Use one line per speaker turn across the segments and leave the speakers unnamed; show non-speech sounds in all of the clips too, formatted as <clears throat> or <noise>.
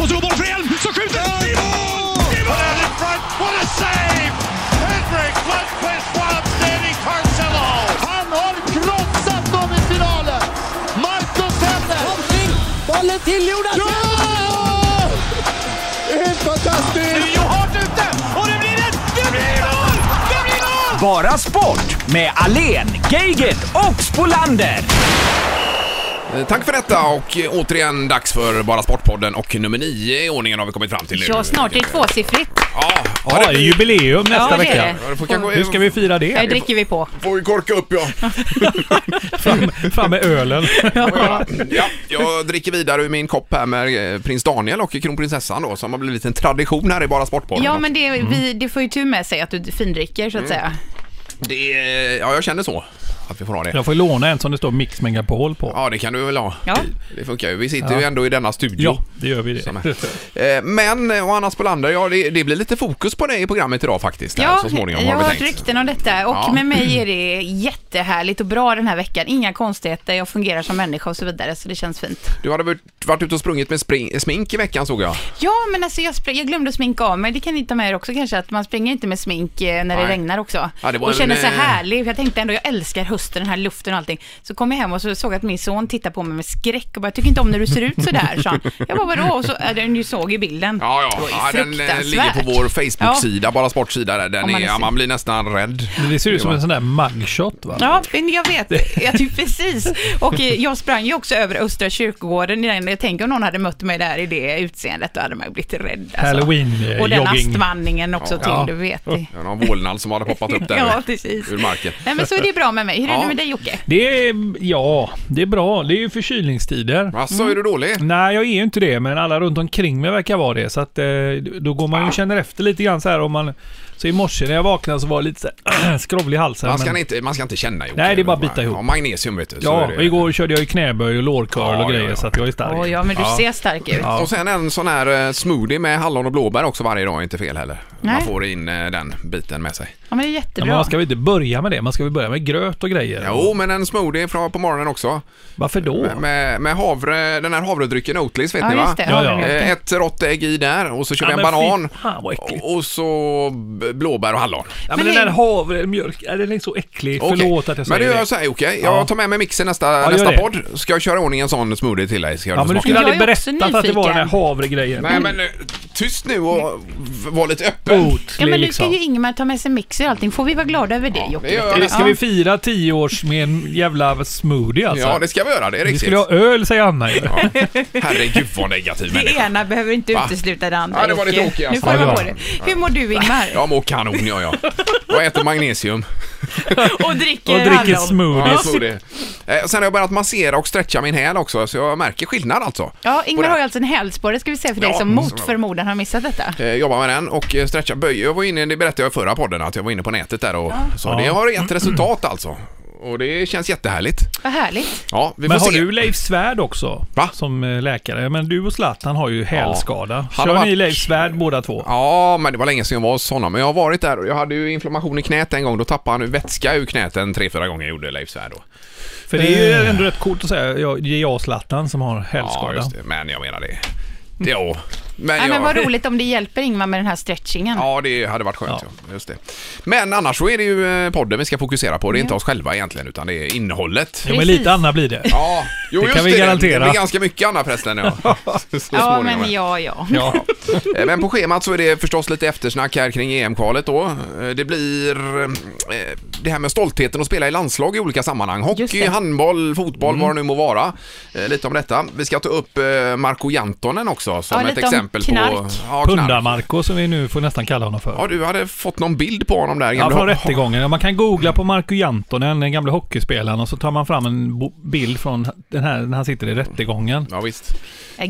Och så går bollen för Elm som skjuter! Det är mål! Det är
Put out
mål!
in front. What a save! Henrik Lundqvist, one upstanding Carcelo.
Han har krossat dem i finalen! Marcus Henner!
Kontring! Bollen till Jonas!
Ja! Helt fantastiskt!
Nu är hårt ute och det blir ett... Det blir mål! Det blir mål!
Bara sport med Alen, Geigert och Spolander.
Eh, Tack för detta och eh, återigen dags för Bara Sportpodden och nummer nio i ordningen har vi kommit fram till nu.
Ja, snart är det tvåsiffrigt.
Ja, ja,
Ja, det
det,
är jubileum nästa
Ja, det är
vecka.
det.
ja, det får kanske,
Hur ska vi fira det?
Nu dricker vi på.
får vi korka upp ja.
Fram, fram
<laughs>
med ölen.
ja. Jag dricker vidare ur min kopp här med eh, prins Daniel och kronprinsessan då som har blivit en tradition här i Bara Sportpodden.
Ja, men det, vi,
Mm.
det får ju tur med sig att du findricker så att säga.
det, eh, ja, jag känner så att vi får ha det.
Jag får låna en som det står Mix Megapol på.
Ja, det kan du väl ha.
Ja.
Det funkar ju. Vi sitter ju ändå i denna studio.
Ja, det gör vi det.
Som är. Eh, Men, eh, och Anna Spolander, ja, det, det blir lite fokus på dig i programmet idag faktiskt. här, så småningom
jag
har
har
vi
hört
tänkt.
rykten om detta och
Ja.
med mig är det jättehärligt och bra den här veckan. Inga konstigheter, jag fungerar som människa och så vidare så det känns fint.
Du hade varit, varit ute och sprungit med spring, smink i veckan såg jag.
Ja, men alltså jag, spr- jag glömde sminka av mig. Det kan ni ta med er också kanske, att man springer inte med smink eh, när det
Nej.
regnar också.
Ja, det var
och
en,
känner sig
eh,
härlig. för Jag tänkte ändå, jag älskar hösten, den här luften och allting. Så kom jag hem och så såg jag att min son tittade på mig med skräck och bara, jag tycker inte om när du ser ut sådär, sa han. Jag bara, vadå? Och så, äh, den ju såg i bilden.
Ja,
Det
ja.
var ju
ja den eh,
fruktansvärt.
ligger på vår Facebook-sida, bara sportsida där. Den
Om man
man, är,
är
ja,
sur.
man blir nästan rädd.
Det ser ut som en sån där mugshot va?
Ja, men jag vet. Jag tycker precis. Och eh, jag sprang ju också över Östra kyrkogården. i den. Jag tänker om någon hade mött mig där i det utseendet, då hade man ju blivit rädd. Alltså.
Halloween-jogging.
Och den astvandringen också till,
Ja.
du vet. det.
Det var någon vålnad som hade poppat upp där
Ja, precis.
ur marken.
Nej, men så är det bra med mig. Hur är
Ja.
det med dig Jocke?
Det är, ja, det är bra. Det är ju förkylningstider.
Jaså, Alltså, är du
Mm.
dålig?
Nej, jag är ju inte det, men alla runt omkring mig verkar vara det. Så att, eh, då går man ju och känner efter lite grann så här om man... Så i morse när jag vaknade så var jag lite så här, <clears throat> skrovlig i halsen.
Man ska,
men-
inte, man ska inte känna ihop.
Nej, det är bara att bita ihop.
Ja, magnesium vet du. så
Ja,
är
och
det.
igår körde jag ju knäböj och lårcurl
Ja,
och grejer
ja, ja.
så att jag är stark.
Åh ja, men du ser stark ut.
Och sen en sån här eh, smoothie med hallon och blåbär också varje dag, inte fel heller. Man
Nej.
får in eh, den biten med sig.
Ja, men det är
Ja,
jättebra.
men man ska väl inte börja med det? Man ska väl börja med gröt och grejer?
Jo, men en smoothie från- på morgonen också.
Varför då?
Med, med havre, den här havredrycken Oatlees vet
Ja,
ni va?
just det.
Ja, ja.
Har du
Eh,
märkt
Ett rått ägg i där och så kör
Ja,
vi en
men fy
banan.
fan, vad äckligt.
och så b- blåbär och hallon.
Ja, men
Men
den där
det-
havremjölk, är den är så äcklig.
Okej.
Förlåt att jag säger
Men det gör
det.
jag så här Jocke,
Ja.
jag tar med mig mixen nästa,
gör
nästa
det.
podd. Ska jag köra i ordning en sån smoothie till dig? Ska jag
Ja, men du skulle
Jag
aldrig
är också
berättat att det var den här
nyfiken.
havregrejen.
Nej men eh, tyst nu och v- var lite öppen.
Oatly
Ja, men nu ska
liksom.
ju Ingmar ta med sig mixer och allting. Får vi vara glada över det Jocke?
det gör
vet
vi.
du?
Ska vi fira tio års med en jävla smoothie alltså?
Ja det ska vi göra, det
vi
är riktigt.
skulle ha öl säger Anna ju.
Herregud vad negativ
Det
människa.
ena behöver inte
Va?
utesluta det andra
Ja, det var
Jocke.
lite tråkigt,
Nu
alltså.
får
Ja,
du
det
vara
var
på det. Hur mår du Ingmar?
Jag mår kanon gör jag. Och äter magnesium.
Och dricker,
Och dricker
hallon.
Ja,
smoothies.
smoothie. Eh, Sen har jag börjat massera och stretcha min häl också så jag märker skillnad alltså.
Ja,
På
Ingmar
det.
har ju alltså en hälsporre ska vi säga för dig
Ja,
som
mm,
mot
så-
förmodan har missat detta.
Eh, jobbar med den och eh, stretchar böjer. Jag var inne, det berättade jag i förra podden, att jag var inne på nätet där och så. Det har gett resultat alltså. Och det känns jättehärligt.
Vad härligt.
Ja, vi får
Men har
se.
du Leif Svärd också?
Va?
Som eh, läkare. Men du och Zlatan har ju hälskada.
Han
Kör
har
ni
varit-
Leif Svärd båda två?
Ja, men det var länge sedan jag var hos honom. Men jag har varit där och jag hade ju inflammation i knät en gång. Då tappade han ju vätska ur knät en tre, fyra gånger gjorde Leif Svärd då.
För det är ju ändå rätt coolt att säga jag, det är jag och Zlatan som har
Eh. Ja,
hälskada.
just det. Men jag menar det. det ja. Men,
Ja, men
jag,
vad roligt om det hjälper Ingmar med den här stretchingen.
Ja, det hade varit skönt. Ja. Just det. Men annars så är det ju eh, podden vi ska fokusera på. Det
Mm.
är inte oss själva egentligen, utan det är innehållet.
ja, men
precis.
lite Anna blir det.
Ja, jo,
Det
just
kan vi
det.
garantera.
Det blir ganska mycket Anna förresten.
<laughs>
Ja, Så
Ja,
småningom.
men ja, ja.
Ja. Eh, Men på schemat så är det förstås lite eftersnack här kring EM-kvalet då. Eh, Det blir eh, det här med stoltheten att spela i landslag i olika sammanhang.
Just
Hockey,
det.
handboll, fotboll,
Mm.
vad det nu må vara. Eh, Lite om detta. Vi ska ta upp eh, Marco Jantonen också
Ja,
som ett
lite om
exempel
knark.
på... Ja,
Pundamarko som vi nu får nästan kalla honom för.
Ja, du hade fått någon bild på honom där.
Ja,
Du
från
har-
rättegången. Ja, Man kan googla på Marko Jantonen, den gamla hockeyspelaren, och så tar man fram en bo- bild från den här när han sitter i rättegången.
Ja, visst.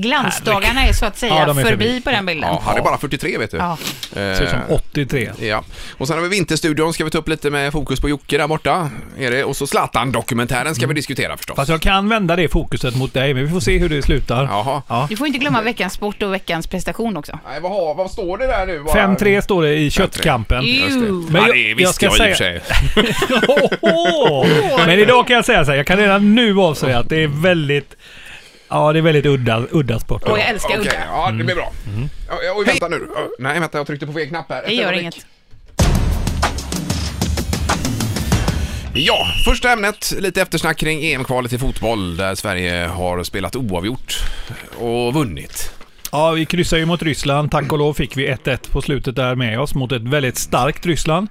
Glansdagarna är så att säga
Ja, de är
förbi.
förbi.
på den bilden.
Ja, han är bara 43 vet du.
Ja.
Ser ut som
Eh,
83.
Ja, och sen har vi Vinterstudion ska vi ta upp lite med fokus på Jocke där borta. Är det? Och så Zlatan-dokumentären ska vi diskutera förstås.
Mm. Fast jag kan vända det fokuset mot dig, men vi får se hur det slutar.
Jaha.
Ja.
Du får inte glömma veckans sport och veckans prestation också.
Nej, vad, har, vad står det där nu? Bara-
5-3 står det i köttkampen. <laughs>
Just det.
Ew.
Men
ja,
jag-
det visste jag,
jag ska
i och för sig.
säga- <laughs> Ohoho! Men idag kan jag säga så här, jag kan redan nu avslöja att det är väldigt Ja, det är väldigt udda, udda sport.
Och jag älskar
Okej,
udda.
ja det blir bra.
Mm.
Oj, oj, vänta nu. Ö, Nej, vänta jag tryckte på fel knapp här.
Det
Ett
gör
ögonblick.
inget.
Ja, första ämnet, lite eftersnack kring EM-kvalet i fotboll där Sverige har spelat oavgjort och vunnit.
Ja, vi kryssar ju mot Ryssland. Tack och lov fick vi 1-1 på slutet där med oss mot ett väldigt starkt Ryssland.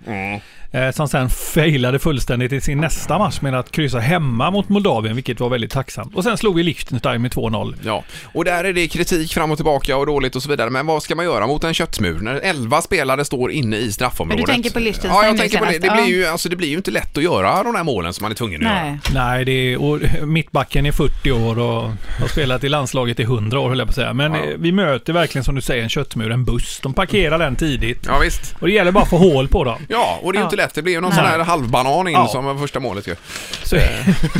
Eh, som sen failade fullständigt i sin nästa match med att kryssa hemma mot Moldavien, vilket var väldigt tacksamt. Och sen slog vi Liechtenstein med 2-0.
Ja, och där är det kritik fram och tillbaka och dåligt och så vidare. Men vad ska man göra mot en köttsmur när 11 spelare står inne i straffområdet?
Men du tänker på Liechtenstein
Ja, jag
nu
tänker på det.
senast,
Det blir,
ja.
ju, alltså, det blir ju inte lätt att göra de här målen som man är tvungen att göra.
Nej.
Nej, det är, och mittbacken är 40 år och har spelat i landslaget i 100 år höll jag på att säga. Men eh, vi möter verkligen som du säger en köttmur, en buss. De parkerar den tidigt.
Ja, visst.
Och det gäller bara att få hål på dem.
Ja, och det är ju
Ja.
inte lätt. Det blir ju någon
Nej.
sån här halvbanan in
Ja.
som var första målet ju.
Så, <laughs> <laughs>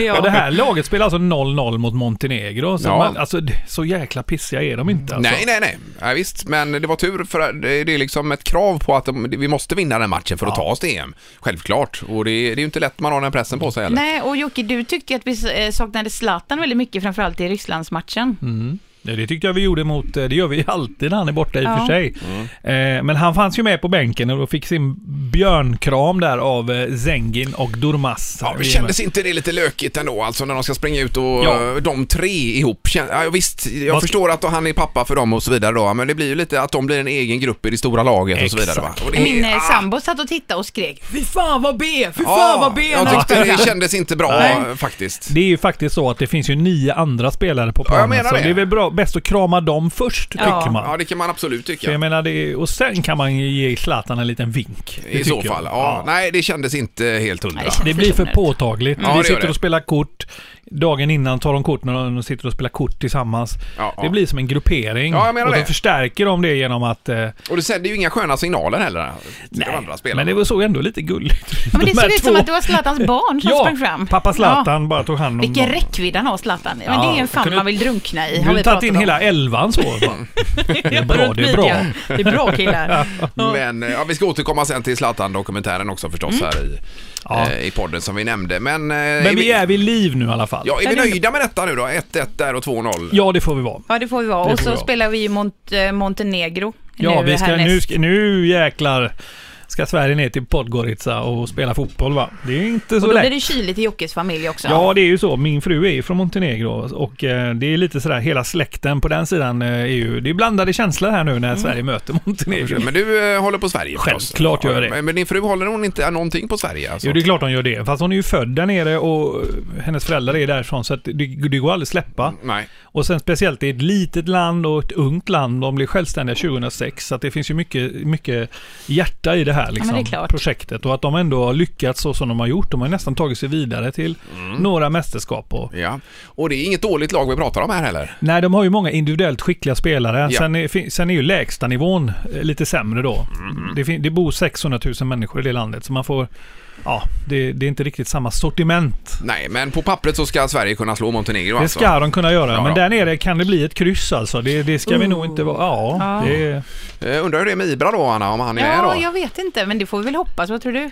ja. Det här laget spelar alltså 0-0 mot Montenegro. Så,
Ja.
man, alltså, d- så jäkla pissiga är de inte. Alltså.
Nej, nej, nej. Ja, visst, men det var tur för att det det är liksom ett krav på att de, vi måste vinna den matchen för att ta oss till EM. Självklart. Och det, det är ju inte lätt man har den pressen på sig heller.
Nej, och Jocke, du tyckte ju att vi eh, saknade Zlatan väldigt mycket, framförallt i Rysslandsmatchen.
Mm. Nej, Det tyckte jag vi gjorde mot, eh, det gör vi ju alltid när han är borta i och
Ja.
för sig.
Mm.
Eh, men han fanns ju med på bänken och fick sin björnkram där av eh, Zengin och Durmaz.
Ja, men kändes inte det lite lökigt ändå, alltså när de ska springa ut och
Ja.
eh, de tre ihop? Kän- Ja, visst, jag
Vad-
förstår att han är pappa för dem och så vidare då, men det blir ju lite att de blir en egen grupp i det stora laget och så
Exakt.
vidare va? Och det är-
Min eh,
ah,
sambo satt och tittade och skrek Fy fan vad B! Fy
ja,
fan vad B!
Jag tyckte det kändes inte bra eh, faktiskt.
Det är ju faktiskt så att det finns ju nio andra spelare på planen.
menar
så
det.
det är väl bra, bäst att krama dem först,
Ja.
tycker man.
Ja, det kan man absolut
För
tycka.
jag menar det, är- och sen kan man ju ge Zlatan en liten vink. Det
I så
tycker
fall.
jag.
Ja, Nej, det kändes inte helt hundra.
Nej, det kändes-
Det blir för
Personligt.
påtagligt.
Ja, det gör
Vi sitter
det.
och spelar kort. Dagen innan tar de kort när de sitter och spelar kort tillsammans.
Ja, ja.
Det blir som en gruppering.
Ja, jag menar
och då
det.
förstärker de det genom att... Eh,
Och det sänder ju inga sköna signaler heller eh, till de andra spelarna.
men det var så ändå lite gulligt.
Ja, men det
De här
såg ut som
två-
att det var Zlatans barn som
ja,
sprang fram.
pappa
Ja.
Zlatan bara tog hand om
Vilken
dem.
räckvidd han har Zlatan. Men det är ju en fan
kunde-
man vill drunkna i.
Du
har
har
vi
tagit in
pratat om.
hela elvan så. va? Det är bra, det är bra.
Runt midjan. Det är bra
<laughs>
killar.
<laughs> Men eh, ja, vi ska återkomma sen till Zlatan-dokumentären också förstås här i,
Mm. Ja.
eh, i podden som vi nämnde. Men, eh,
Men vi är vid liv nu i alla fall.
Ja, är vi
Ja, det-
nöjda med detta nu då? 1-1 där och 2-0.
Typ.
Ja, det får vi vara.
Ja, det får vi vara.
Det
Och
får
så
vi vara.
spelar vi ju mot eh, Montenegro.
Ja, vi ska,
härnäst.
nu, ska, nu jäklar ska Sverige ner till Podgorica och spela fotboll va? Det är inte så
Och då
lätt.
blir det kyligt i Jockes familj också.
Ja, det är ju så. Min fru är ju från Montenegro och eh, det är lite sådär hela släkten på den sidan eh, är ju... Det är blandade känslor här nu när
Mm.
Sverige möter Montenegro.
Men du eh, håller på Sverige förstås.
Självklart gör jag det.
Men, men din fru håller hon inte någonting på Sverige alltså?
Jo, det är klart hon gör det. Fast hon är ju född där nere och eh, hennes föräldrar är därifrån så att det, det går aldrig att släppa.
Nej.
Och sen speciellt i ett litet land och ett ungt land. De blev självständiga 2006 så att det finns ju mycket, mycket hjärta i det här liksom,
det är klart.
projektet. Och att de ändå har lyckats så som de har gjort. De har nästan tagit sig vidare till
Mm.
några mästerskap. Och,
Ja. Och det är inget dåligt lag vi pratar om här heller.
Nej, de har ju många individuellt skickliga spelare.
Ja.
Sen, är, fin- sen är ju lägstanivån eh, lite sämre då.
Mm.
Det, fin- det bor 600 000 människor i det landet, så man får... Ja, det, det är inte riktigt samma sortiment.
Nej, men på pappret så ska Sverige kunna slå Montenegro
Det
alltså.
ska de kunna göra,
Ja,
men
ja.
där nere kan det bli ett kryss alltså. Det, det ska vi nog inte vara... Ja, Det,
Eh, Undrar hur det är med Ibra då, Anna, om han är med
Ja,
då?
jag vet inte, men det får vi väl hoppas. Vad tror du?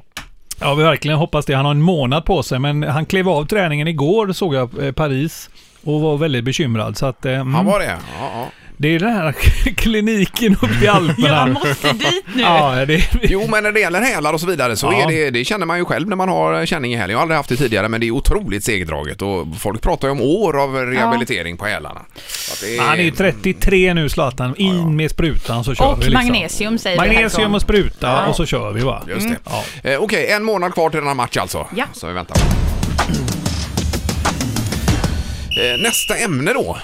<laughs>
ja, vi verkligen hoppas det. Han har en månad på sig, men han klev av träningen igår, såg jag, eh, Paris. Och var väldigt bekymrad. Så att, eh, mm,
Han var det? Ja, ja.
Det är den här <laughs> kliniken uppe i Alperna.
måste dit
liksom-
nu.
ja, det,
Jo, men när det gäller hälar och så vidare så
Ja.
är det, det känner man ju själv när man har eh, känning i hälen. Jag har aldrig haft det tidigare, men det är otroligt segdraget och folk pratar ju om år av rehabilitering på hälarna. Så att det
Han är ju 33 nu Zlatan. In med sprutan så kör
Och
vi. Liksom.
magnesium säger vi härifrån.
Magnesium och spruta och så kör vi va.
Just det.
Ja.
Eh, Okej, en månad kvar till denna match alltså.
Ja.
Så vi väntar. <clears throat> Eh, Nästa ämne då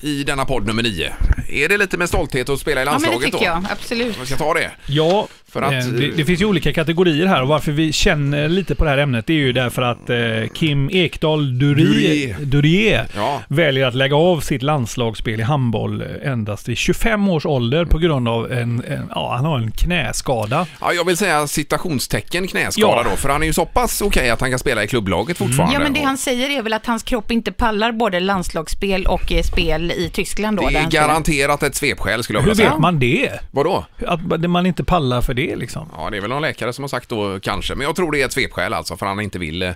i denna podd nummer nio. Är det lite med stolthet att spela i
Ja, men det
landslaget
tycker jag.
då?
Absolut.
Vi ska ta det.
Ja,
För att-
eh, det, det finns ju olika kategorier här och varför vi känner lite på det här ämnet det är ju därför att eh, Kim Ekdahl Durie,
Durie.
Durie
Ja.
väljer att lägga av sitt landslagsspel i handboll eh, endast vid 25 års ålder på grund av en, en ja, han har en knäskada.
Ja, jag vill säga citationstecken knäskada
Ja. Mm.
då, för han är ju så pass okej att han kan spela i klubblaget fortfarande.
Ja, men det
Och-
han säger är väl att hans kropp inte pallar både landslagsspel och eh, spel svepskäl i Tyskland då?
Det
där
är
han spelar.
garanterat ett svepskäl skulle jag
Hur
vilja säga.
vet man det?
Vadå?
Att man inte pallar för det liksom?
Ja, det är väl någon läkare som har sagt då kanske, men jag tror det är ett svepskäl alltså för han inte vill eh,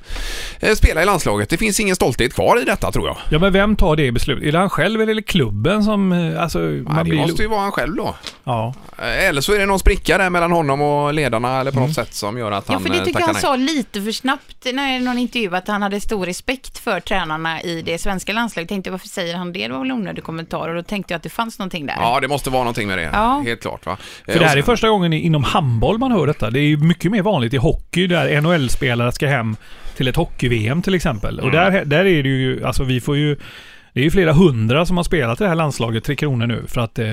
spela i landslaget. Det finns ingen stolthet kvar i detta tror jag.
Ja, men vem tar det beslutet? Är det han själv eller är det klubben som... eh, Alltså, man
Nej, det
blir...
måste ju vara han själv då.
Ja.
Eh, Eller så är det någon spricka där mellan honom och ledarna eller på något sätt som gör att han
Mm. Ja, för det
eh,
tycker
tackar
jag han
nej.
sa lite för snabbt när någon intervju att han hade stor respekt för tränarna i det svenska landslaget. Jag tänkte varför säger han det? Det var väl en onödig kommentar och då tänkte jag att det fanns någonting där.
Ja, det måste vara någonting med det.
Ja.
Helt klart va. Eh,
För det här är
och så-
första gången i- inom handboll man hör detta. Det är ju mycket mer vanligt i hockey där NHL-spelare ska hem till ett hockey-VM till exempel. Och
Mm.
där, där är det ju, alltså vi får ju... Det är ju flera hundra som har spelat i det här landslaget Tre Kronor nu för att eh,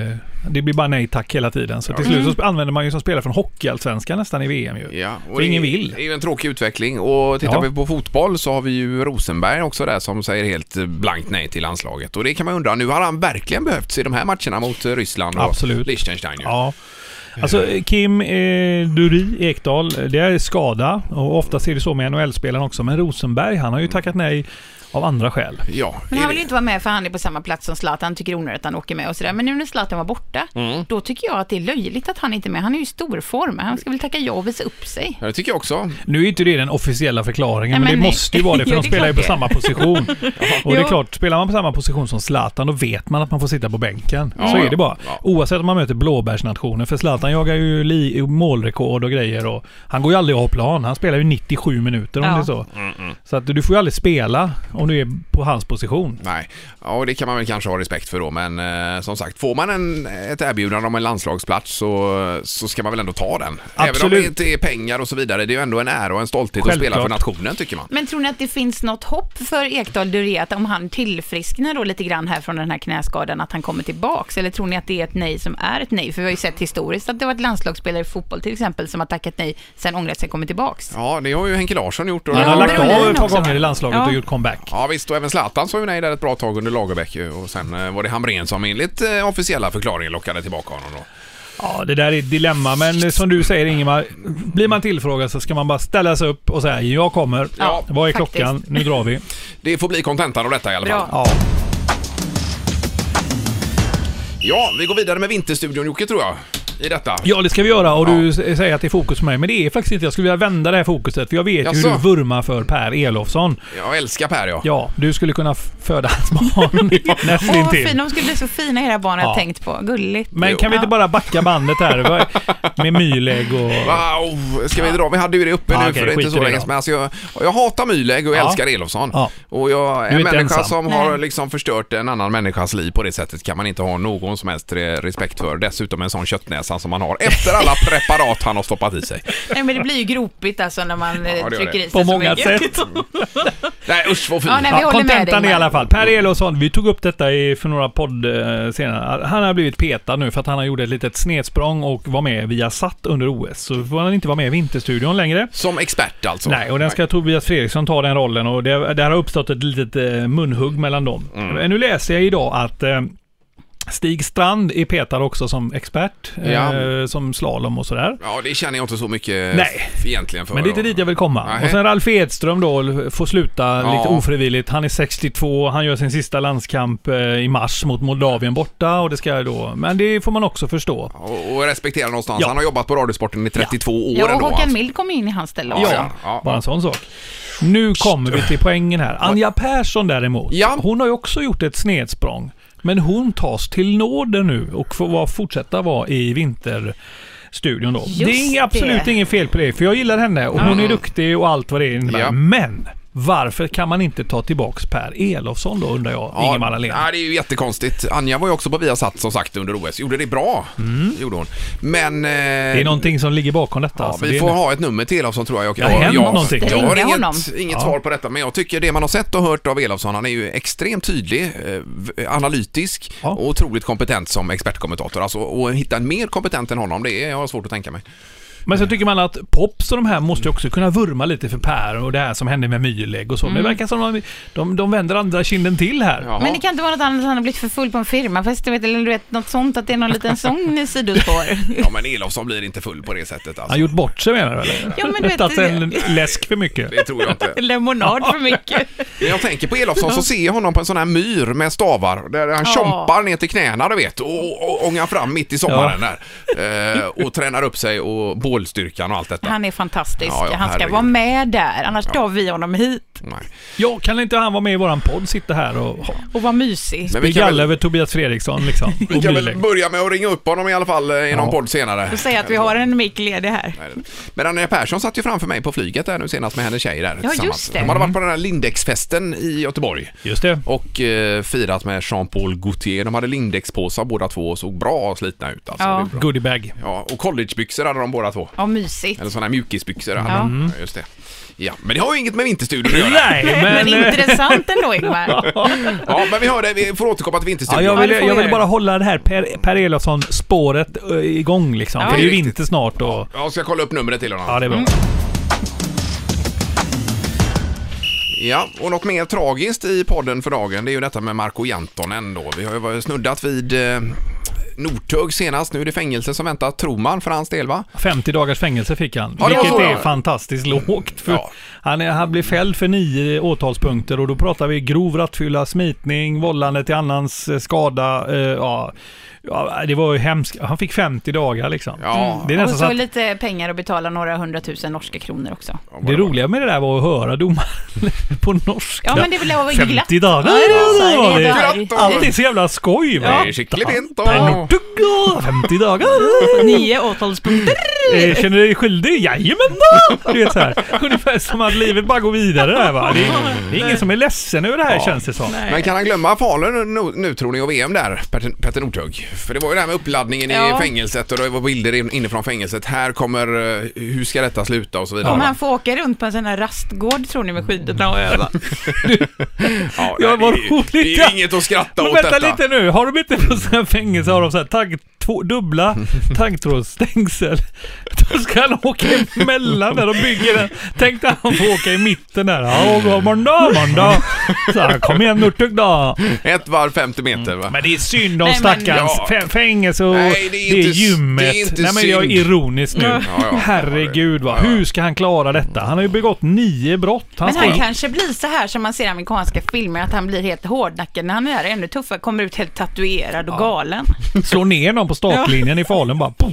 det blir bara nej tack hela tiden. Så till slut så sp- använder man ju som spelare från Hockeyallsvenskan nästan i VM ju.
Mm. Ja, och
för
det
ingen
är-
vill.
Det är ju en tråkig utveckling och tittar
Ja.
vi på fotboll så har vi ju Rosenberg också där som säger helt eh, blankt nej till landslaget och det kan man undra, nu har han verkligen behövts i de här matcherna mot eh, Ryssland och
Absolut.
Liechtenstein ju.
Ja. Alltså Kim eh, Duri Ekdal, eh, det är skada och ofta ser det så med NHL-spelaren också. Men Rosenberg, han har ju tackat nej av andra skäl.
Ja,
Men han
är det-
vill ju inte vara med för han är på samma plats som Zlatan. Han tycker det är onödigt att han åker med och sådär. Men nu när Zlatan var borta,
Mm.
då tycker jag att det är löjligt att han inte är med. Han är ju i storform. Han ska väl tacka ja och visa upp sig.
Ja, Det tycker jag också.
Nu är inte det den officiella förklaringen,
Nej,
men,
men
det
nej.
måste ju vara det,
<laughs>
för
Ja,
de
det är
spelar ju på
klart det. <laughs>
samma position. och det är
Jo.
klart, spelar man på samma position som Zlatan, då vet man att man får sitta på bänken.
Ja,
så är
ja.
det bara.
Ja.
Oavsett om man möter blåbärsnationer, för Zlatan jagar ju li- målrekord och grejer. Och han går ju aldrig av plan. Han spelar ju 97 minuter om
Ja.
det är så. Så att du får ju aldrig spela om du är på hans position.
Nej, ja, och det kan man väl kanske ha respekt för då, men eh, som sagt, får man en, ett erbjudande om en landslagsplats så, så ska man väl ändå ta den. Även om
Absolut.
det inte är pengar och så vidare, det är ju ändå en ära och en stolthet att spela
Självklart.
för nationen tycker man.
Men tror ni att det finns något hopp för Ekdal Duré att om han tillfrisknar då lite grann här från den här knäskadan att han kommer tillbaks? Eller tror ni att det är ett nej som är ett nej? För vi har ju sett historiskt att det var ett landslagsspelare i fotboll till exempel som har tackat nej, sen ångrat sig och kommit tillbaks.
Ja, det har ju Henke Larsson gjort. Och
Han har
Ja,
lagt
Brolin
av ett par
också,
gånger
va?
i landslaget
Ja.
och gjort comeback.
Ja visst, och även Zlatan sa ju nej där ett bra tag under Lagerbäck ju. och sen eh, var det Hamrén som enligt eh, officiella förklaringen lockade tillbaka honom då.
Ja, det där är ett dilemma, men som du säger Ingemar, blir man tillfrågad så ska man bara ställa sig upp och säga jag kommer.
Ja,
Vad är
faktiskt.
klockan? Nu
<laughs>
drar vi.
Det får bli kontentan av detta i alla fall.
Bra.
Ja.
Ja, vi går vidare med Vinterstudion Jocke tror jag, i detta.
ja, det ska vi göra och
Ja.
du s- säger att det är fokus på mig, men det är faktiskt inte. Jag skulle vilja vända det här fokuset, för jag vet ju hur
Jaså?
du vurmar för Per Elofsson.
Jag älskar Per ja.
Ja, du skulle kunna f- föda hans
<laughs>
barn <laughs>
Åh, vad
nästintill.
fina. De skulle bli så fina era barn har
Ja.
jag tänkt på. Gulligt.
Men kan vi inte
Ja.
bara backa bandet här? Vad- Med mylägg och...
Wow, ska vi dra? Vi hade ju det uppe
Ja,
nu
okej,
för det är inte
skit i
så
det
länge
då.
sedan. Men Alltså jag, jag hatar Myhlegg och jag
Ja.
älskar Elofsson.
Ja.
Och jag
Du är
en
inte
människa
ensam.
som har
Nej.
liksom förstört en annan människas liv på det sättet kan man inte ha någon som helst re- respekt för. Dessutom en sån köttnäsa som man har efter alla preparat han har stoppat i sig.
Nej, men det blir ju gropigt alltså när man eh,
det gör
trycker
det.
i sig
På
så
många
mycket.
sätt.
Nej usch vad fint.
Ja, nej, vi
Ja,
håller med dig,
kontentan i
Ingmar.
alla fall. Per Elofsson, vi tog upp detta i, för några podd eh, senare. Han har blivit petad nu för att han har gjort ett litet snedsprång och var med via satt under OS. Så får han inte vara med i Vinterstudion längre.
Som expert alltså.
Nej, och den ska Tobias Fredriksson ta den rollen och det, det har uppstått ett litet eh, munhugg mellan dem. Men Nu läser jag idag att eh, Stig Strand är petad också som expert, eh,
Ja.
som slalom och sådär.
Ja, det känner jag inte så mycket
Nej.
f- egentligen för.
Men det är inte dit jag vill komma.
Nej.
Och sen Ralf Edström då får sluta
Ja.
lite ofrivilligt. Han är 62, han gör sin sista landskamp eh, i mars mot Moldavien borta och det ska jag då... Men det får man också förstå.
Och, och respektera någonstans.
Ja.
Han har jobbat på Radiosporten i 32 år
Ja, och
ändå.
Håkan
alltså.
Mild kom ju in i hans ställe
Ja,
också.
ja. ja.
Bara en sån sak. Nu kommer vi till poängen här. Anja Persson däremot,
Ja.
hon har ju också gjort ett snedsprång. Men hon tas till nåder nu och får vara, fortsätta vara i vinterstudion då. det är
Just
inga- absolut
det.
inget fel på det, för jag gillar henne och hon är duktig och allt vad det innebär.
Ja.
Men varför kan man inte ta tillbaks Per Elofsson då undrar jag, Ingemar Ahlén?
Ja, det är ju jättekonstigt. Anja var ju också på Viasat som sagt under OS. Gjorde det bra, gjorde hon. Men... Eh,
Mm. Det är någonting som ligger bakom detta.
Ja,
alltså. Det
vi
är-
får ha ett nummer till Elofsson tror jag.
Det har hänt någonting.
jag har
Ringa honom.
inget, inget svar på detta, men jag tycker det man har sett och hört av Elofsson, han är ju extremt tydlig, eh, v- analytisk
Ja.
och otroligt kompetent som expertkommentator. Alltså, och hitta en mer kompetent än honom, det är, jag har svårt att tänka mig.
Men så tycker man att Pops och de här måste ju också kunna vurma lite för Per och det här som hände med Myleg och så.
Mm.
Men det verkar som de, de, de vänder andra kinden till här.
Jaha.
Men det kan inte vara något annat än att han har blivit för full på en firmafest, du vet, eller du vet, något sånt, att det är någon liten sång i sidospår.
Ja, men Elofsson blir inte full på det sättet
Han har
alltså.
gjort bort sig menar du eller?
Ja,
<laughs>
men du vet-
Att en läsk för mycket.
Det tror jag inte.
Lemonad för mycket.
När jag tänker på Elofsson så ser jag honom på en sån här myr med stavar där
Ja.
han tjompar ner till knäna du vet och, och ångar fram mitt i sommaren där. Eh, och tränar upp sig och bålstyrkan och allt detta.
Han är fantastisk.
Ja, ja,
han ska
herregud.
vara med där, annars tar vi honom hit
Nej.
Ja, kan inte han vara med i våran podd? Sitta här och
och vara mysig.
Men vi
bygga
kan,
alla
väl,
över Tobias Fredriksson liksom.
<laughs> vi
Och
kan väl
Myleg.
börja med att ringa upp honom i alla fall eh, i någon
Ja.
podd senare.
Och säga att vi har en mick ledig här.
Men Andrea Persson satt ju framför mig på flyget där nu senast med hennes tjej där
Ja,
tillsammans.
just det. Mm.
De hade varit på den här Lindex-festen i Göteborg.
Just det.
och eh, firat med Jean-Paul Gaultier. De hade Lindex-påsar båda två och såg bra slitna ut. Alltså.
Ja.
Det är bra.
Goodiebag.
ja. Och collegebyxor hade de båda två.
Ja, mysigt.
Eller sådana här mjukisbyxor. hade
Ja.
de. Ja, just det. Ja, men det har ju inget med Vinterstudion att göra.
Mm. Nej,
Men,
men... eh,
intressant ändå Ingmar.
Ja, men vi hör det. Vi får återkomma till
<laughs> Ja,
Vinterstudion.
jag
Ja,
vill,
det får vi
jag vill
göra.
bara hålla det här Per, per Elofsson-spåret eh, igång liksom.
Ja. Mm.
För det är ju
Riktigt.
vinter snart och...
Jag ska kolla upp numret till honom.
Ja, det är bra.
Ja, och något mer tragiskt i podden för dagen det är ju detta med Marco Jantonen då. Vi har ju varit snuddat vid eh, Northug senast. Nu är det fängelse som väntar, tror man, för hans del va?
50 dagars fängelse fick han,
Ja, det var
vilket
så,
är
ja.
fantastiskt lågt. För
Ja.
han, är, han blev fälld för nio åtalspunkter och då pratar vi grov rattfylla, smitning, vållande till annans eh, skada. Eh, ja, ja, det var ju hemskt. Han fick 50 dagar liksom.
Ja,
Det, är
Och
nästan så
Mm. så
att,
lite pengar att betala några hundratusen norska kronor också.
det roliga med det där var att höra domaren <laughs> på norska.
Ja, men det blev väl glatt.
50 dagar!
Ja, det var så.
Det-
Glatt och-
Allt är så jävla skoj va?
Det är skickligt fint och...
Men nu tugga, 50 dagar!
Nio åtalspunkter.
Eh, känner du dig skyldig? Jajamän då! Du vet så här. <laughs> Ungefär som att livet bara går vidare där va. Det är, det är ingen som är ledsen över det här känns det som.
Men kan han glömma Falun nu, nu tror ni och VM där, Petter, Petter Northug? För det var ju det här med uppladdningen
Ja.
i fängelset och det var bilder in, inifrån fängelset. Här kommer, eh, hur ska detta sluta och så vidare.
Om
va?
han får åka runt på en sån här rastgård tror ni med skidorna och öva.
Ja,
Ja,
nej,
vad
det är ju-
roligt.
Det är ju inget att skratta
Men
åt
vänta
detta.
lite nu, har de inte på sina fängelse har de så här tagg, två, dubbla taggtrådsstängsel? Då ska han åka emellan där de bygger den. Tänk dig han får åka i mitten där. Ja, god måndag, måndag. Så här, kom igen Nurtug då.
Ett varv 50 meter va?
Mm, Men det är synd om
Nej, men-
stackarns
Ja.
fä- fängelse och
Nej,
det,
det
är
är inte s-
gymmet.
det är inte
Nej men jag är
synd.
ironisk nu.
Ja,
ja, ja.
Herregud va.
Ja, ja.
Hur ska han klara detta? Han har ju begått nio brott. Han
Men
ska
han
ju...
kanske blir så här som man ser i amerikanska filmer, att han blir helt hårdnackad när han är ännu tuffare, kommer ut helt tatuerad och galen.
slå ner någon på startlinjen i Falun bara. Pof.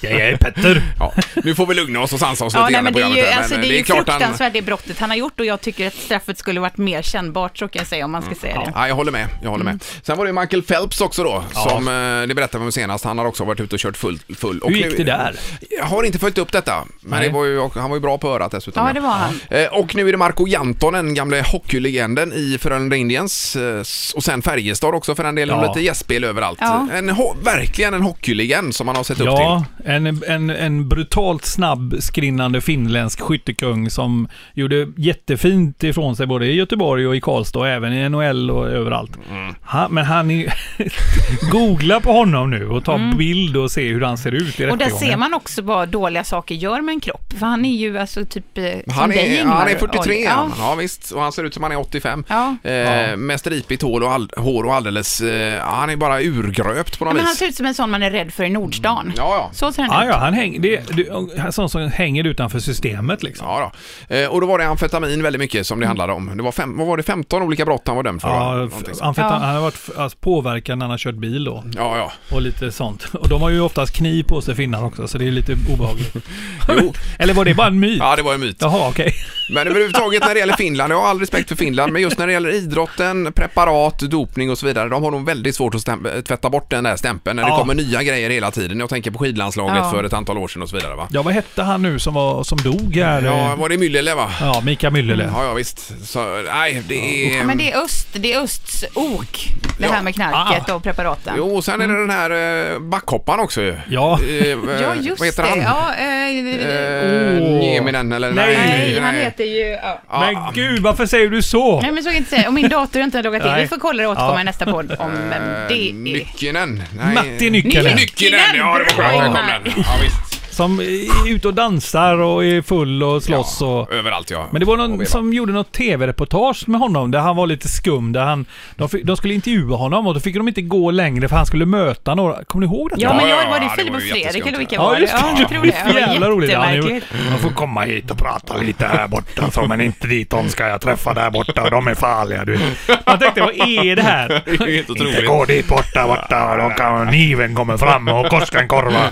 Ja, jag är Petter.
Ja, nu får vi lugna oss och sansa oss
Ja, nej,
lite grann i
men det är
programmet.
ju,
här, eh,
alltså, det är ju
klart han-
fruktansvärt det brottet han har gjort och jag tycker att straffet skulle varit mer kännbart så kan jag säga om man ska säga det.
Ja, jag håller med. Jag
Mm.
håller med. Sen var det ju Michael Phelps också då, som eh, det berättade vi om senast. Han har också varit ute och kört full. full. Och
Hur gick
nu-
det där?
Jag har inte följt upp detta, men
Nej.
det var ju, han var ju bra på örat dessutom.
Ja, det var han.
Eh, Och nu är det Marco Jantonen, gamle hockeylegenden i Frölunda Indians eh, s- och sen Färjestad också för den delen
Ja.
och lite gästspel överallt.
Ja.
En, ho- verkligen en hockeylegend som man har sett upp
Ja,
till.
en, en, en brutalt snabb skrinnande finländsk skyttekung som gjorde jättefint ifrån sig både i Göteborg och i Karlstad och även i NHL och överallt.
Mm.
Han, men han är... <laughs> Googla på honom nu och ta bild och se hur han ser ut i
Mm. Och där
rättegången.
ser man också vad dåliga saker gör med en kropp. För han är ju alltså typ eh, som
Han
dig,
är,
Ingmar.
han är 43
Oj,
ja.
ja.
ja visst, och han ser ut som han är 85.
Ja.
Eh, Med stripigt hår och, all, hår och alldeles, eh, han är bara urgröpt på något
Ja, Men han
vis.
ser ut som en sån man är rädd för i Nordstan.
Mm. Ja, ja.
Så ser han
Ja,
ut.
ja, han häng, det, det, han är sån som hänger utanför systemet liksom.
Ja, då. Eh, och då var det amfetamin väldigt mycket
Mm.
som det handlade om. Det var, fem, vad var det, 15 olika brott han var dömd för? va?
Ja,
Någonting sånt.
han,
Ja.
han har varit f- alltså, påverkad när han har kört bil då.
ja, ja.
Och lite sånt. Och de har ju oftast kniv på sig finnarna också, så det är lite obehagligt.
<laughs> Jo.
<laughs> Eller var det bara en myt?
ja, det var en myt.
Jaha, okej.
Men överhuvudtaget när det gäller Finland, jag har all respekt för Finland, men just när det gäller idrotten, preparat, dopning och så vidare, de har nog väldigt svårt att stämp- eh, tvätta bort den där stämpeln när det
Ja.
kommer nya grejer hela tiden. Jag tänker på skidlandslaget
Ja.
för ett antal år sedan och så vidare va?
Ja, vad hette han nu som, var, som dog här?
Ja,
Ja,
var det Myllylä va?
ja Mikael Myllylä.
Ja, ja visst. Så, nej, det
Ja,
är...
Men det är öst, det är östs ok, det
Ja.
här med knarket och preparaten.
Jo, och sen är det den här eh, backhopparen också ju.
Ja.
Eh, eh,
<laughs> ja, just
Vad heter han?
det. Ja, eh,
Eh, Nieminen eller?
Nej.
nej, han heter ju... Ja.
eh,
Men gud, varför säger du så?
Nej, men så kan jag inte säga. Och min dator har inte loggat in.
Nej.
Vi får kolla och återkomma
Ja.
i nästa podd om
Eh,
vem det är.
Nyckinen.
Matti Nyckelen.
Nyckinen, ja det var skönt. Där kom
Nyckinen.
den. Ja, visst.
Som är ute och dansar och är full och slåss och...
Överallt ja.
Men det var
Och
någon
veva.
som gjorde något tv-reportage med honom där han var lite skum. Där han, de, fick, de skulle intervjua honom och då fick de inte gå längre för han skulle möta några. Kommer ni ihåg detta?
Ja,
Ja,
men jag
ja,
var
ja,
det
det
Filip
var
och
ju
Fredrik
jätteskumt.
eller vilka
Ja
var det?
just det,
jag
det
tror
var
det.
jävla roligt. Ja, ni-
Jättemärkligt.
De får komma hit och prata lite här borta, så, men inte dit de ska jag träffa där borta. De är farliga du.
Jag tänkte, vad är det här?
Det
<laughs>
är ju helt
Inte
otroligt.
gå dit borta, borta. De kan, kniven kommer fram och Koskenkorva.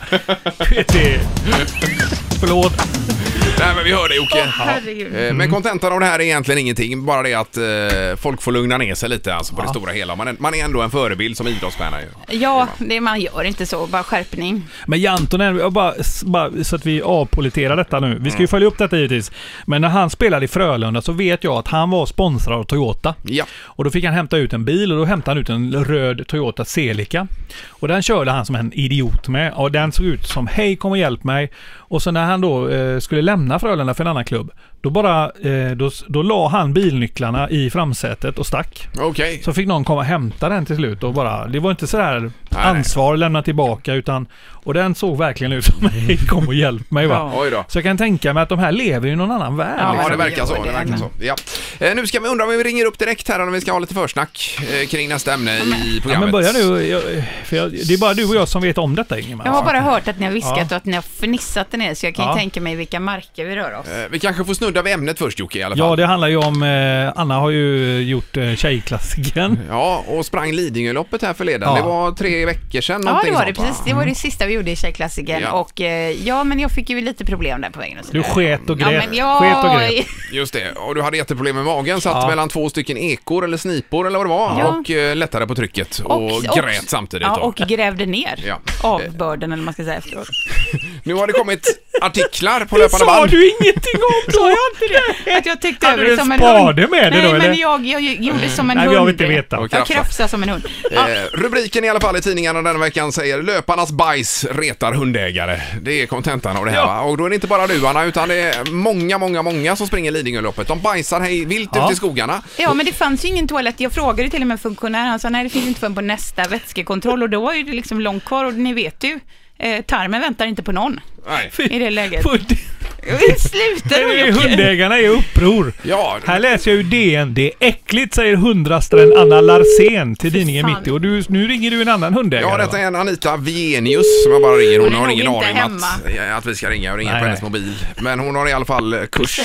PT. Förlåt.
Nej, men vi hör dig Jocke.
herregud.
Eh, Men kontentan av det här är egentligen ingenting. Bara det att eh, folk får lugna ner sig lite alltså på det stora hela. Man är, man är ändå en förebild som idrottsstjärna ju.
Ja, det, man gör inte så. Bara skärpning.
Men Jantonen, jag bara, s- bara så att vi avpoliterar detta nu. Vi ska ju följa upp detta givetvis. Men när han spelade i Frölunda så vet jag att han var sponsrad av Toyota.
Ja.
Och då fick han hämta ut en bil och då hämtade han ut en röd Toyota Celica. Och den körde han som en idiot med. Och den såg ut som hej kom och hjälp mig. Och så när han då eh, skulle lämna Frölunda för en annan klubb. Då bara, eh, då, s- då la han bilnycklarna i framsätet och stack.
Okej.
Så fick någon komma och hämta den till slut och bara, det var inte sådär ansvar lämna tillbaka utan, och den såg verkligen ut som <laughs> hej kom och hjälp mig va.
Oj då.
Så jag kan tänka mig att de här lever i någon annan värld.
Ja,
Ja, det
liksom.
verkar så. Det verkar så. Ja. Eh, Nu ska vi undra om vi ringer upp direkt här om vi ska ha lite försnack eh, kring nästa ämne i programmet.
ja, men börja du, jag, för jag, det är bara du och jag som vet om detta Ingemar.
Jag har bara hört att ni har viskat
Ja.
och att ni har fnissat den ner, så jag kan ju
Ja.
tänka mig vilka marker vi rör oss.
Eh, Vi kanske får snudda vid ämnet först Jocke i alla
Ja,
fall.
det handlar ju om, eh, Anna har ju gjort eh, Tjejklassikern.
Ja, och sprang Lidingöloppet här förleden.
Ja.
Det var tre veckor sedan
Ja, det
någonting
var det.
sånt, va?
Precis. Det var
Mm.
det sista vi gjorde i Tjejklassikern.
Ja.
Och eh, ja, men jag fick ju lite problem där på vägen och så
Du
vidare.
sket och
Eh, Ja,
grät.
men jag...
Sket och grät.
Just det, och du hade jätteproblem med magen, satt
Ja.
mellan två stycken ekor eller snipor eller vad det var
Ja.
och eh, lättade på trycket och, grät samtidigt.
<laughs> Ja,
då.
och grävde ner
Ja.
avbörden, eller vad man ska säga
<laughs>
efteråt.
Nu har det kommit artiklar på löpande
Sa
band.
du ingenting om
Sa jag
då?
inte det? Att jag täckte
Hade
över
du
det
en
som en hund.
spade med dig
Nej,
då, eller?
men jag, jag gjorde som en
Nej,
hund.
jag vill inte veta.
Och
Jag
krafsa.
krafsade som en hund. Ja,
Eh, rubriken i alla fall i tidningarna denna veckan säger löparnas bajs retar hundägare. Det är kontentan av det här va? Och då är det inte bara du Anna, utan det är många, många, många som springer Lidingöloppet. De bajsar hej vilt
Ja.
ute i skogarna.
Ja, men det fanns ju ingen toalett. Jag frågade till och med funktionären, han sa nej det finns inte förrän på nästa vätskekontroll och då var ju det liksom långt kvar och ni vet ju, eh, tarmen väntar inte på någon
Nej.
i det
<laughs>
läget. <laughs>
Hund-
Sluta nu Jocke!
Hundägarna är i uppror.
Ja,
Här läser jag ju DN. Det är äckligt säger hundrastaren Anna Larsén till tidningen
fan.
Mitt i. Och du, nu ringer du en annan hundägare.
Ja, detta
va?
är en Anita Vienius som jag bara ringer. Hon
Hon är
har
nog
ingen
inte
aning om att,
hemma.
att vi ska ringa. Jag ringer
Nej,
på hennes
nej.
mobil. Men hon har i alla fall eh, kurs.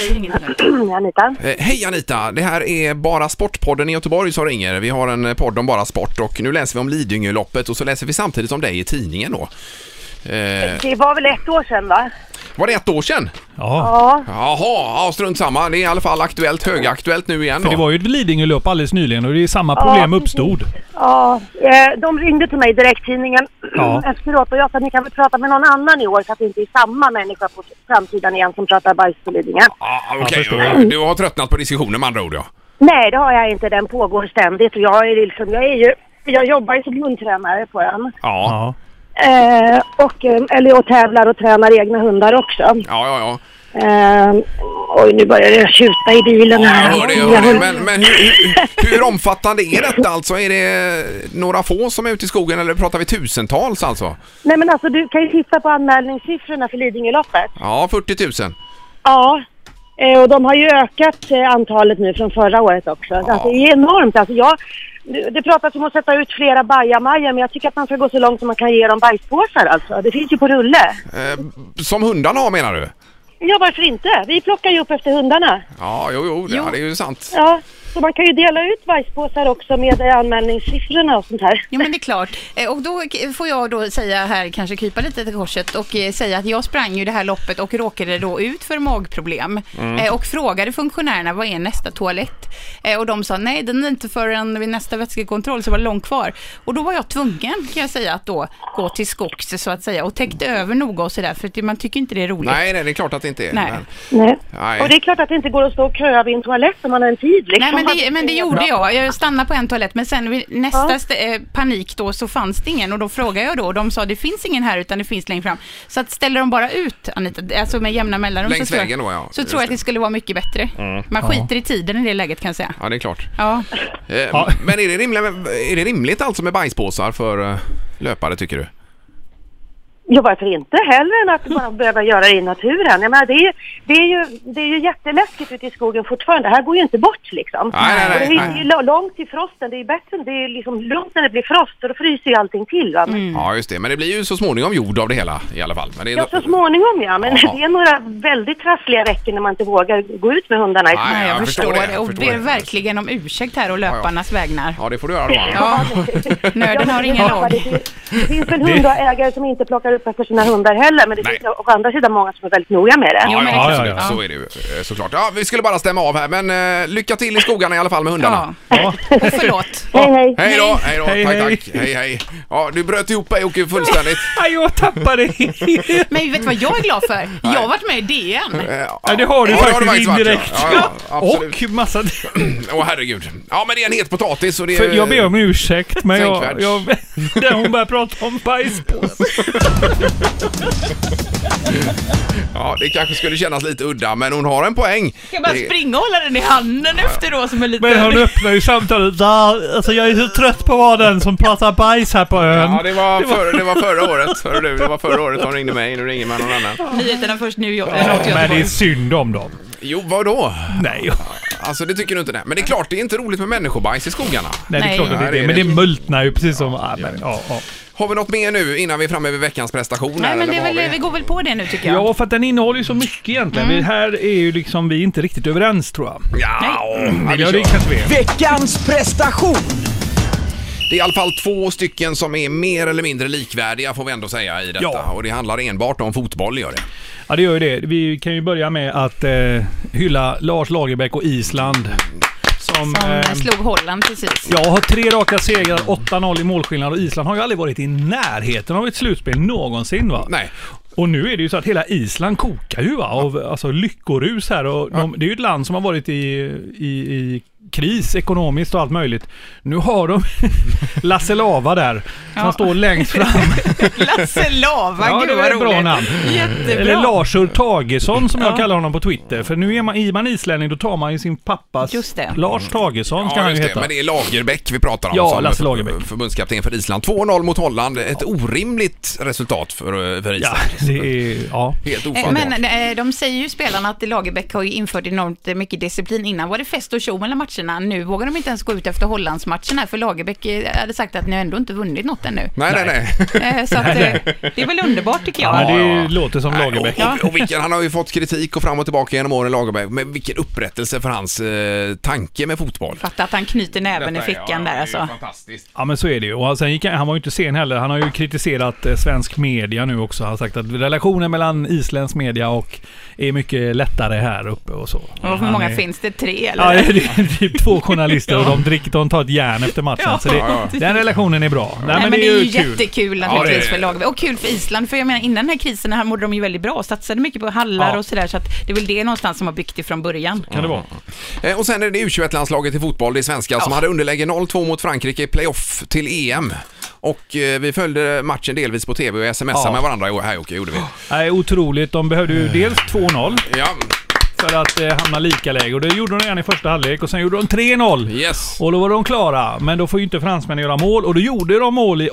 Anita.
Eh, Hej Anita! Det här är Bara Sportpodden i Göteborg som ringer. Vi har en eh, podd om Bara Sport och nu läser vi om Lidingöloppet och så läser vi samtidigt om dig i tidningen då. Eh,
Det var väl ett år sedan va?
var det ett år sedan?
Ja.
Ja.
Jaha, ja, strunt samma. Det är i alla fall aktuellt, högaktuellt nu igen.
För det
Då.
var ju ett Lidingölopp alldeles nyligen och det är samma problem uppstod.
ja. Eh, De ringde till mig direkt, tidningen,
Ja.
<clears throat> efteråt och jag sa ni kan väl prata med någon annan i år så att det inte är samma människa på framsidan igen som pratar bajs på Lidingö.
Ah,
Jag
Okej,
förstår.
du har tröttnat på diskussionen med andra ord ja.
Nej, det har jag inte. Den pågår ständigt och jag är liksom, jag är ju jag jobbar ju som hundtränare på ön.
Ja,
Ja.
Eh, och, eh, eller och tävlar och tränar egna hundar också.
ja, ja. ja.
Eh, oj, nu börjar det tjuta i bilen här.
Jag hör det, jag hör det. Men, men hur, hur, hur omfattande är detta alltså? Är det några få som är ute i skogen eller pratar vi tusentals alltså?
Nej men alltså du kan ju titta på anmälningssiffrorna för Lidingöloppet.
Ja, 40 000.
Ja, eh, och de har ju ökat eh, antalet nu från förra året också. Så att det är enormt. Alltså jag, det det pratas om att sätta ut flera bajamajor, men jag tycker att man ska gå så långt som man kan ge dem bajspåsar alltså. Det finns ju på rulle.
Eh, som hundarna har menar du?
Ja, varför inte? Vi plockar ju upp efter hundarna.
Ja, jo, jo, det, Ja, det är ju sant.
Ja, så man kan ju dela ut bajspåsar också med eh, anmälningssiffrorna och sånt här.
Jo men det är klart. Eh, Och då k- får jag då säga här, kanske krypa lite till korset och eh, säga att jag sprang ju det här loppet och råkade då ut för magproblem. Eh, Och frågade funktionärerna vad är nästa toalett? Eh, Och de sa nej den är inte förrän vid nästa vätskekontroll så var det långt kvar. Och då var jag tvungen kan jag säga att då gå till skogs så att säga och täckte över noga och sådär för att man tycker inte det är roligt.
Nej, nej, det är klart att det inte är.
Nej.
Men,
Nej.
Nej.
Och det är klart att det inte går att stå och köa vid en toalett om man har en tid liksom.
Nej men det, men det gjorde jag. Jag stannade på en toalett men sen vid nästa
Ja.
st- eh, panik då så fanns det ingen och då frågade jag då och de sa det finns ingen här utan det finns längre fram. Så att ställer de bara ut Anita, alltså med jämna mellanrum
Längs
så, tror
vägen
jag,
då, ja.
så
Just
tror jag att
det.
det skulle vara mycket bättre. Man skiter i tiden i det läget kan jag säga.
Ja, det är klart.
Ja.
Eh, Men är det, rimligt, är det rimligt alltså med bajspåsar för eh, löpare tycker du?
Ja, varför inte? Hellre än
<laughs>
att bara behöva göra det i naturen. Jag menar, det, är ju, det, är ju, det är ju jätteläskigt ute i skogen fortfarande. Det här går ju inte bort liksom.
Nej, nej, nej,
och det är
nej.
ju lo- långt till frosten. Det är ju bättre det är liksom lugnt när det blir frost och då fryser ju allting till. Va? Men,
Mm.
Ja, just det. Men det blir ju så småningom jord av det hela i alla fall. Men det är
Ja, så småningom ja. Men
Ja.
<laughs> det är några väldigt trassliga veckor när man inte vågar gå ut med hundarna. i skogen.
Nej, jag,
jag förstår
förstår
det,
det.
jag
Och
förstår
ber
det.
verkligen om ursäkt här och löparnas vägnar.
Ja, det får du göra då. Anna.
<laughs>
Ja,
<laughs>
nöden har ingen
Ja,
lag.
det finns- Det finns väl hundägare som inte plockar upp efter sina hundar heller, men det
Nej.
finns å andra sidan många som är väldigt noga med det.
Jo, men
ja,
det är
ja,
klart.
Så är det ju eh, såklart. Ja, vi skulle bara stämma av här, men eh, lycka till i skogarna i alla fall med hundarna.
Ja. <laughs> Och förlåt.
Hej, hej!
Hej då, hej då,
Hej,
tack,
hej.
tack, hej, hej. Ja, du bröt ihop dig
<laughs>
Jocke fullständigt.
Aj,
<laughs>
jag tappade helt.
Men vet du vad jag är glad för? Jag har varit med i DN.
Eh, Ja,
Ja, det har du
Ja,
faktiskt
varit, ja.
indirekt.
Ja, ja,
<laughs>
absolut. <clears throat>
och massa...
Åh herregud. Ja, men det är en het potatis och det är...
För jag ber om ursäkt, men
Tänkvärt.
jag... jag <laughs> där hon började prata om
<laughs>
bajspåse.
Ja, det kanske skulle kännas lite udda, men hon har en poäng.
Ska bara
Det-
springa och hålla den i handen efter då som är lite...
Men hon öppnar ju samtalet. "Ja, Alltså jag är så trött på att vara den som pratar bajs här på ön.
Ja, det var, för, det var förra året. Hörde du, det var förra året hon ringde mig. Nu ringer man någon annan.
Nyheterna först nu, jag eller något
Men det är
Göteborg.
synd om dem.
Jo, vadå?
Nej,
Alltså, det tycker du inte? Nej. Men det är klart, det är inte roligt med människobajs i skogarna.
nej det är
Nej.
klart att det
Nej,
är
det är
det. Men
det
det multnar ju precis som... Ja, men, ja, ja.
Har vi något mer nu innan vi är framme vid veckans prestation?
Nej
här,
men
eller
det är
vad har
väl, vi
vi?
går väl på det nu tycker jag.
Ja, Mm. för att den innehåller ju så mycket egentligen. Vi, här är ju liksom vi inte riktigt överens tror jag.
Ja, ja, vi
Eller Mm, ja,
kör.
det kanske vi är.
Veckans prestation!
Det är i alla fall två stycken som är mer eller mindre likvärdiga får vi ändå säga i detta.
Ja.
Och det handlar enbart om fotboll gör det.
Ja, det gör ju det. Vi kan ju börja med att eh, hylla Lars Lagerbäck och Island. Som...
Som
eh,
slog Holland precis.
jag har tre raka segrar, 8-0 i målskillnad och Island har ju aldrig varit i närheten av ett slutspel någonsin va?
Nej,
Och nu är det ju så att hela Island kokar ju va, av alltså, lyckorus här. Och de, det är ju ett land som har varit i, i, i kris ekonomiskt och allt möjligt. Nu har de <laughs> Lasse Lava där, som
Ja.
står
<laughs>
längst fram.
Lasse Lava,
Ja, det
gud
var
vad
ett bra
roligt.
namn.
Jättebra.
Eller Larsur Tagesson som jag kallar honom på Twitter. För nu är man, är man islänning då tar man ju sin pappas
Just det.
Lars Tagesson ska
ja,
han ju
just det.
heta.
men det är Lagerbäck vi pratar om
Ja,
som
Lasse Lagerbäck.
förbundskapten för Island. 2-0 mot Holland, ett orimligt resultat för, för
Ja,
Island.
det är... Ja.
Helt
Eh,
ofattbart.
Men eh, de säger ju spelarna att Lagerbäck har ju infört enormt eh, mycket disciplin. Innan var det fest och tjo mellan matcherna. Nu vågar de inte ens gå ut efter Hollandsmatchen här för Lagerbäck eh, hade sagt att ni har ändå inte vunnit något ännu.
Nej, nej, nej.
Eh,
<laughs>
Så att, eh, det är väl underbart tycker jag.
Ja,
Ja,
det
ja.
låter som Lagerbäck.
Och, och vilken, han har ju fått kritik och fram och tillbaka genom åren, Lagerbäck. Men vilken upprättelse för hans eh, tanke med fotboll.
Fatta att han knyter näven i
Detta är- ja,
fickan
det är
där
ju
alltså.
Fantastiskt.
Ja men så är det ju. Och sen gick han, han var ju inte sen heller. Han har ju kritiserat eh, svensk media nu också. Han har sagt att relationen mellan isländsk media och är mycket lättare här uppe och så.
Och hur
Han
många
är-
finns det? Tre eller?
Ja, det är typ två journalister och de, dricker, de tar ett järn efter matchen.
Ja.
Så det,
Ja,
den relationen är bra. Nej,
Nej, men det är ju
kul.
jättekul
Ja,
naturligtvis
det är-
för Lagerbäck. Och kul för Island, för jag menar innan den här krisen här mådde de ju väldigt bra och satsade mycket på hallar
Ja.
och sådär. Så att det är väl det någonstans som har byggt det från början.
Kan det vara.
Eh, Och sen är det U21-landslaget i fotboll, det är svenskar, som hade underläge 0-2 mot Frankrike i playoff till EM. Och eh, vi följde matchen delvis på TV och smsade
Ja.
med varandra i- här Jocke, gjorde <gasps> vi.
Nej, otroligt. De behövde ju dels 2-0
Ja,
för att eh, hamna lika läge och det gjorde de redan i första halvlek och sen gjorde de 3-0.
yes.
Och då var de klara, men då får ju inte fransmännen göra mål. Och då gjorde de mål i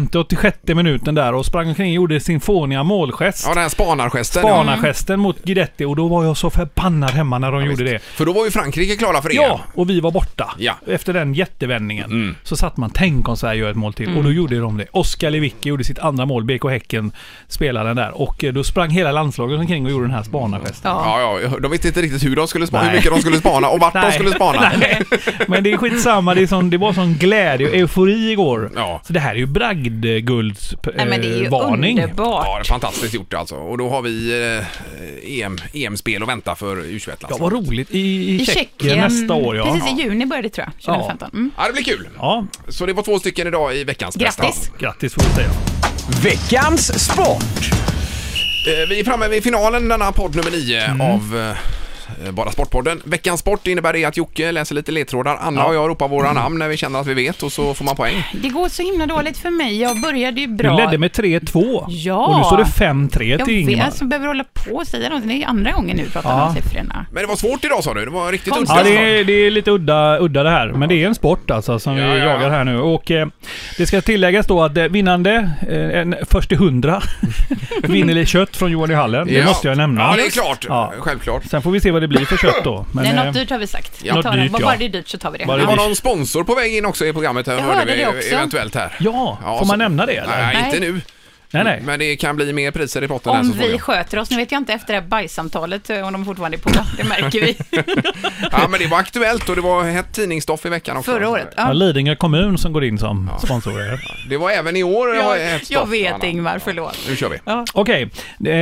85-86 minuten där och sprang omkring och gjorde sin fåniga målgest.
Ja, den här spanargesten. Mm. ja.
Barnagesten mot Guidetti och då var jag så förbannad hemma när de gjorde det.
För då var ju Frankrike klara för E EM.
Ja, och vi var borta.
Ja. Mm.
Efter den jättevändningen så satt man, tänk om Sverige gör ett mål till. Och då gjorde de det. Oskar Lewicki gjorde sitt andra mål, BK Häcken, spelaren där. Och eh, då sprang hela landslaget omkring och gjorde den här spanargesten.
Ja.
Ja, ja, de visste inte riktigt hur, de skulle spana, hur
Nej.
mycket de skulle spana och vart <laughs> de skulle spana.
<laughs> Nej. Men det är skitsamma. Det, är sån, det var sån glädje och eufori igår.
Ja.
Så det här är ju eh, bragdguldsvarning.
Nej, men det är ju underbart.
Ja, det är fantastiskt gjort alltså. Och då har vi eh, EM, EM-spel att vänta för U21-landslaget.
Ja, vad roligt. I, i, Tjeckien, nästa år, ja.
Precis, i juni började det tror jag, 2015. Mm.
Ja, det blir kul.
Ja,
Så det var två stycken idag i veckans bästa.
Grattis!
grattis får vi säga.
Veckans sport!
Mm.
Eh, Vi är framme vid finalen denna podd nummer nio av eh, eh, Bara Sportpodden. Veckans Sport innebär det att Jocke läser lite ledtrådar. Anna och jag ropar våra
Mm.
namn när vi känner att vi vet och så får man poäng.
Det går så himla dåligt för mig. Jag började ju
Du
bra.
ledde med 3-2.
Ja.
Och nu står det 5-3
jag
till
vet,
Ingemar.
alltså, behöver hålla på och säga någonting. Det är andra gången nu vi pratar om siffrorna.
Men det var svårt idag sa du. Det var riktigt
Konstigt.
Ja,
udda.
det är, det är lite udda, udda det här. Men det är en sport alltså som
Ja,
vi
ja.
jagar här nu. Och eh, det ska tilläggas då att eh, vinnande, eh, en först till hundra, <laughs> vinner lite kött från Johan i hallen. Det
Ja.
måste jag nämna.
Ja, det är klart.
Ja.
Självklart.
Sen får vi se vad det blir för kött då. Men,
Nej,
eh,
något dyrt har vi sagt. Vi
något
tar den.
dyrt,
Bara
ja.
det är dyrt så tar vi det.
Bara
Vi
det
Ja.
har någon sponsor på väg in också i programmet. Här,
Jag
hörde
hörde
vi
det också.
eventuellt här.
ja,
Ja,
får
så-
man nämna det eller?
Nej, inte
Nej.
nu.
Nej, nej.
Men det kan bli mer priser i potten. här
Om
så småningom.
vi sköter oss. Nu vet jag inte efter det här bajssamtalet eh, om de fortfarande är på. Det märker
<laughs>
vi.
Ja, men det var aktuellt och det var hett tidningsstoff i veckan också.
Förra året.
Ja,
Ja.
Lidingö kommun som går in som sponsorer.
<laughs>
Det var även i år har
Jag,
hett stoff.
jag vet
Anna.
Ingvar, förlåt.
Nu kör vi.
Okej,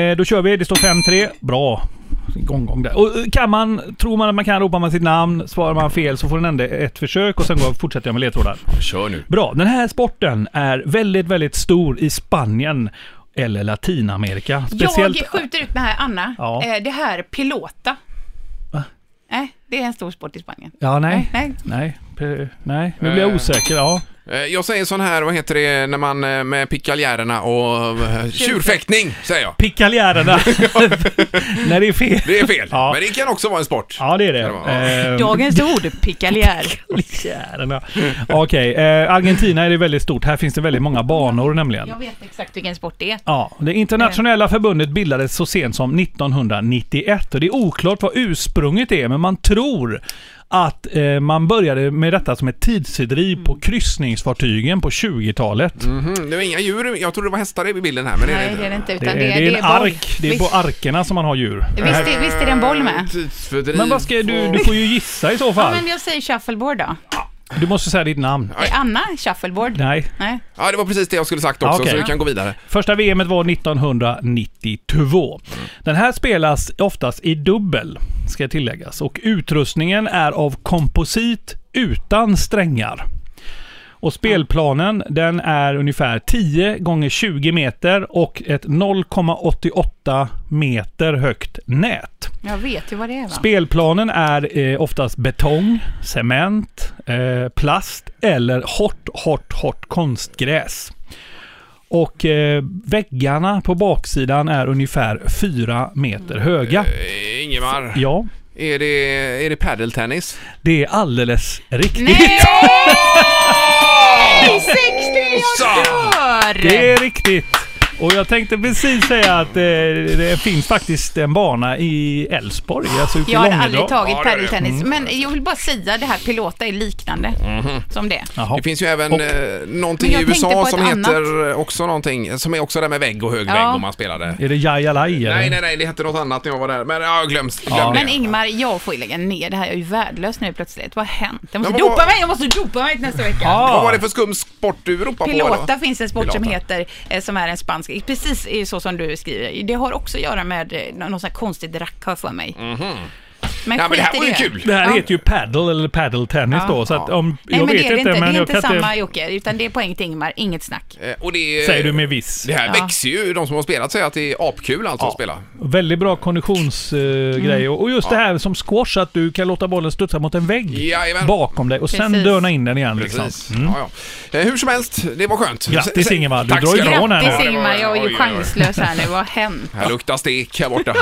eh, då kör vi. Det står 5-3. Bra. Gång, gång där. Och eh, kan man, tror man att man kan, ropar man sitt namn. Svarar man fel så får den ändå ett försök och sen går, fortsätter jag med ledtrådar.
Kör nu.
Bra. Den här sporten är väldigt, väldigt stor i Spanien eller Latinamerika. Speciellt...
Jag skjuter ut med här, Anna.
Ja.
Eh, Det här, pilota. Nej, det är en stor sport i Spanien.
Ja, nej.
Nej.
Nej. P- Nej. Nu blir jag osäker. Ja.
Eh, Jag säger sån här, vad heter det, när man eh, med pikaljärerna och eh, tjurfäktning, säger jag. <laughs>
Pikaljärerna. <laughs> nej, det är fel.
Det är fel.
<laughs> Ja.
Men det kan också vara en sport.
Ja, det är det.
Kan det vara?
Ehm, <laughs>
Dagens ord, pikaljär.
Pikaljärerna. Okej, eh, Argentina är det väldigt stort. Här finns det väldigt många banor nämligen.
Jag vet exakt vilken sport det är.
Ja, det internationella förbundet bildades så sent som 1991 och det är oklart vad ursprunget är, men man tror att eh, man började med detta som ett tidsfördriv
Mm.
på kryssningsfartygen på 20-talet.
Mhm, det var inga djur, jag trodde det var hästar i bilden här, men det är
Nej,
det
det är det
inte.
inte.
Det,
Utan
är,
det,
det är en
boll.
ark, det är på
visst,
arken som man har djur.
visst, är- visst är det en boll med?
Tidsfördriv.
Men vad ska du, du får ju gissa i så
Ja,
fall.
men jag säger shuffleboard då.
Du måste säga ditt namn.
Är Anna shuffleboard?
Nej.
Nej.
Ja, det var precis det jag skulle sagt också,
Ja, okej.
så vi kan gå vidare.
Första VMet var 1992. Den här spelas oftast i dubbel, ska tilläggas. Och utrustningen är av komposit utan strängar. Och spelplanen, den är ungefär 10 gånger 20 meter och ett 0,88 meter högt nät.
Jag vet ju vad det är va?
Spelplanen är eh, oftast betong, cement, eh, plast eller hårt, hårt, hårt konstgräs. Och eh, väggarna på baksidan är ungefär fyra meter höga.
Eh, Ingemar,
Ja,
är det, är det padeltennis?
det är alldeles riktigt.
Nej! 60 jag dör!
<laughs> Det är riktigt. Och jag tänkte precis säga att eh, det finns faktiskt en bana i Älvsborg, alltså ute i
Jag har
Långedal.
aldrig tagit
Ja, det är det.
padeltennis, men jag vill bara säga det här pilota är liknande
Mm-hmm.
som det.
Jaha.
Det finns ju även
Och-
eh, någonting
Men jag
i
tänkte
USA
på ett
som heter eh, också någonting, som är också det där med vägg och hög
Ja.
vägg om man spelade.
Är det Jajalaj? eller?
Nej, nej, nej, det hette något annat när jag var där. Men ja, glöms, glöm
Ja.
det.
Men Ingmar, jag får ju lägga ner det här. Jag är ju värdelös nu plötsligt. Vad har hänt? Jag
Men
måste
vad-
dopa mig! Jag måste dopa mig till nästa vecka.
Vad var det
Ja,
för skum sport du ropade på?
Pilota
då?
finns en sport som
Pilota.
heter, eh, som är en spansk, precis eh, så som du skriver. Det har också att göra med eh, nå- någon sån här konstig drack, har jag för mig.
Mm-hmm.
Men,
Ja, men det här
skit i
var ju kul!
det här heter ju paddle eller padeltennis
Ja.
då, så att om...
Nej,
jag
men
vet
det är det inte.
men
det är
jag
inte
kan inte...
samma Jocke, utan det är poäng till Ingmar, inget snack.
Eh, Och det,
Säger du med viss.
det här
Ja.
växer ju, de som har spelat säger att det är apkul alltså att spela.
Väldigt bra
Mm.
konditionsgrej. och just det här som squash, att du kan låta bollen studsa mot en vägg
Jajamän.
bakom dig och sen
Precis.
dörna in den igen. Liksom.
Precis. Ja, ja. Eh, Hur som helst, det var skönt.
Grattis,
Se- se-
Ingemar. Du
Tack
drar
ska
igång
ha.
här nu.
Grattis
Ja, det var-
Ingmar, jag är
oj, oj,
ju
oj.
chanslös här nu. Vad har hänt?
Här luktar stek här borta.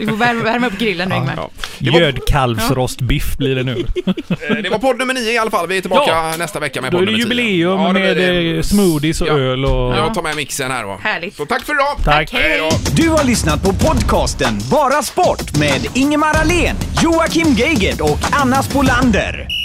Du får värma, värma upp grillen nu Ingmar.
Ja. Det, var,
Gödkalvsrostbiff blir det nu.
eh, det var podd nummer nio i alla fall. Vi är tillbaka
Ja.
nästa vecka med
Då
podd
är det
nummer tio.
jubileum
Ja, det blir
med
det.
eh, smoothies och
Ja.
öl och...
Jag tar med mixen här då.
Härligt.
Så tack för idag!
Tack.
Hej
oh,
då!
Du har lyssnat på podcasten Bara Sport med Ingemar Ahlén, Joakim Geigert och Anna Spolander.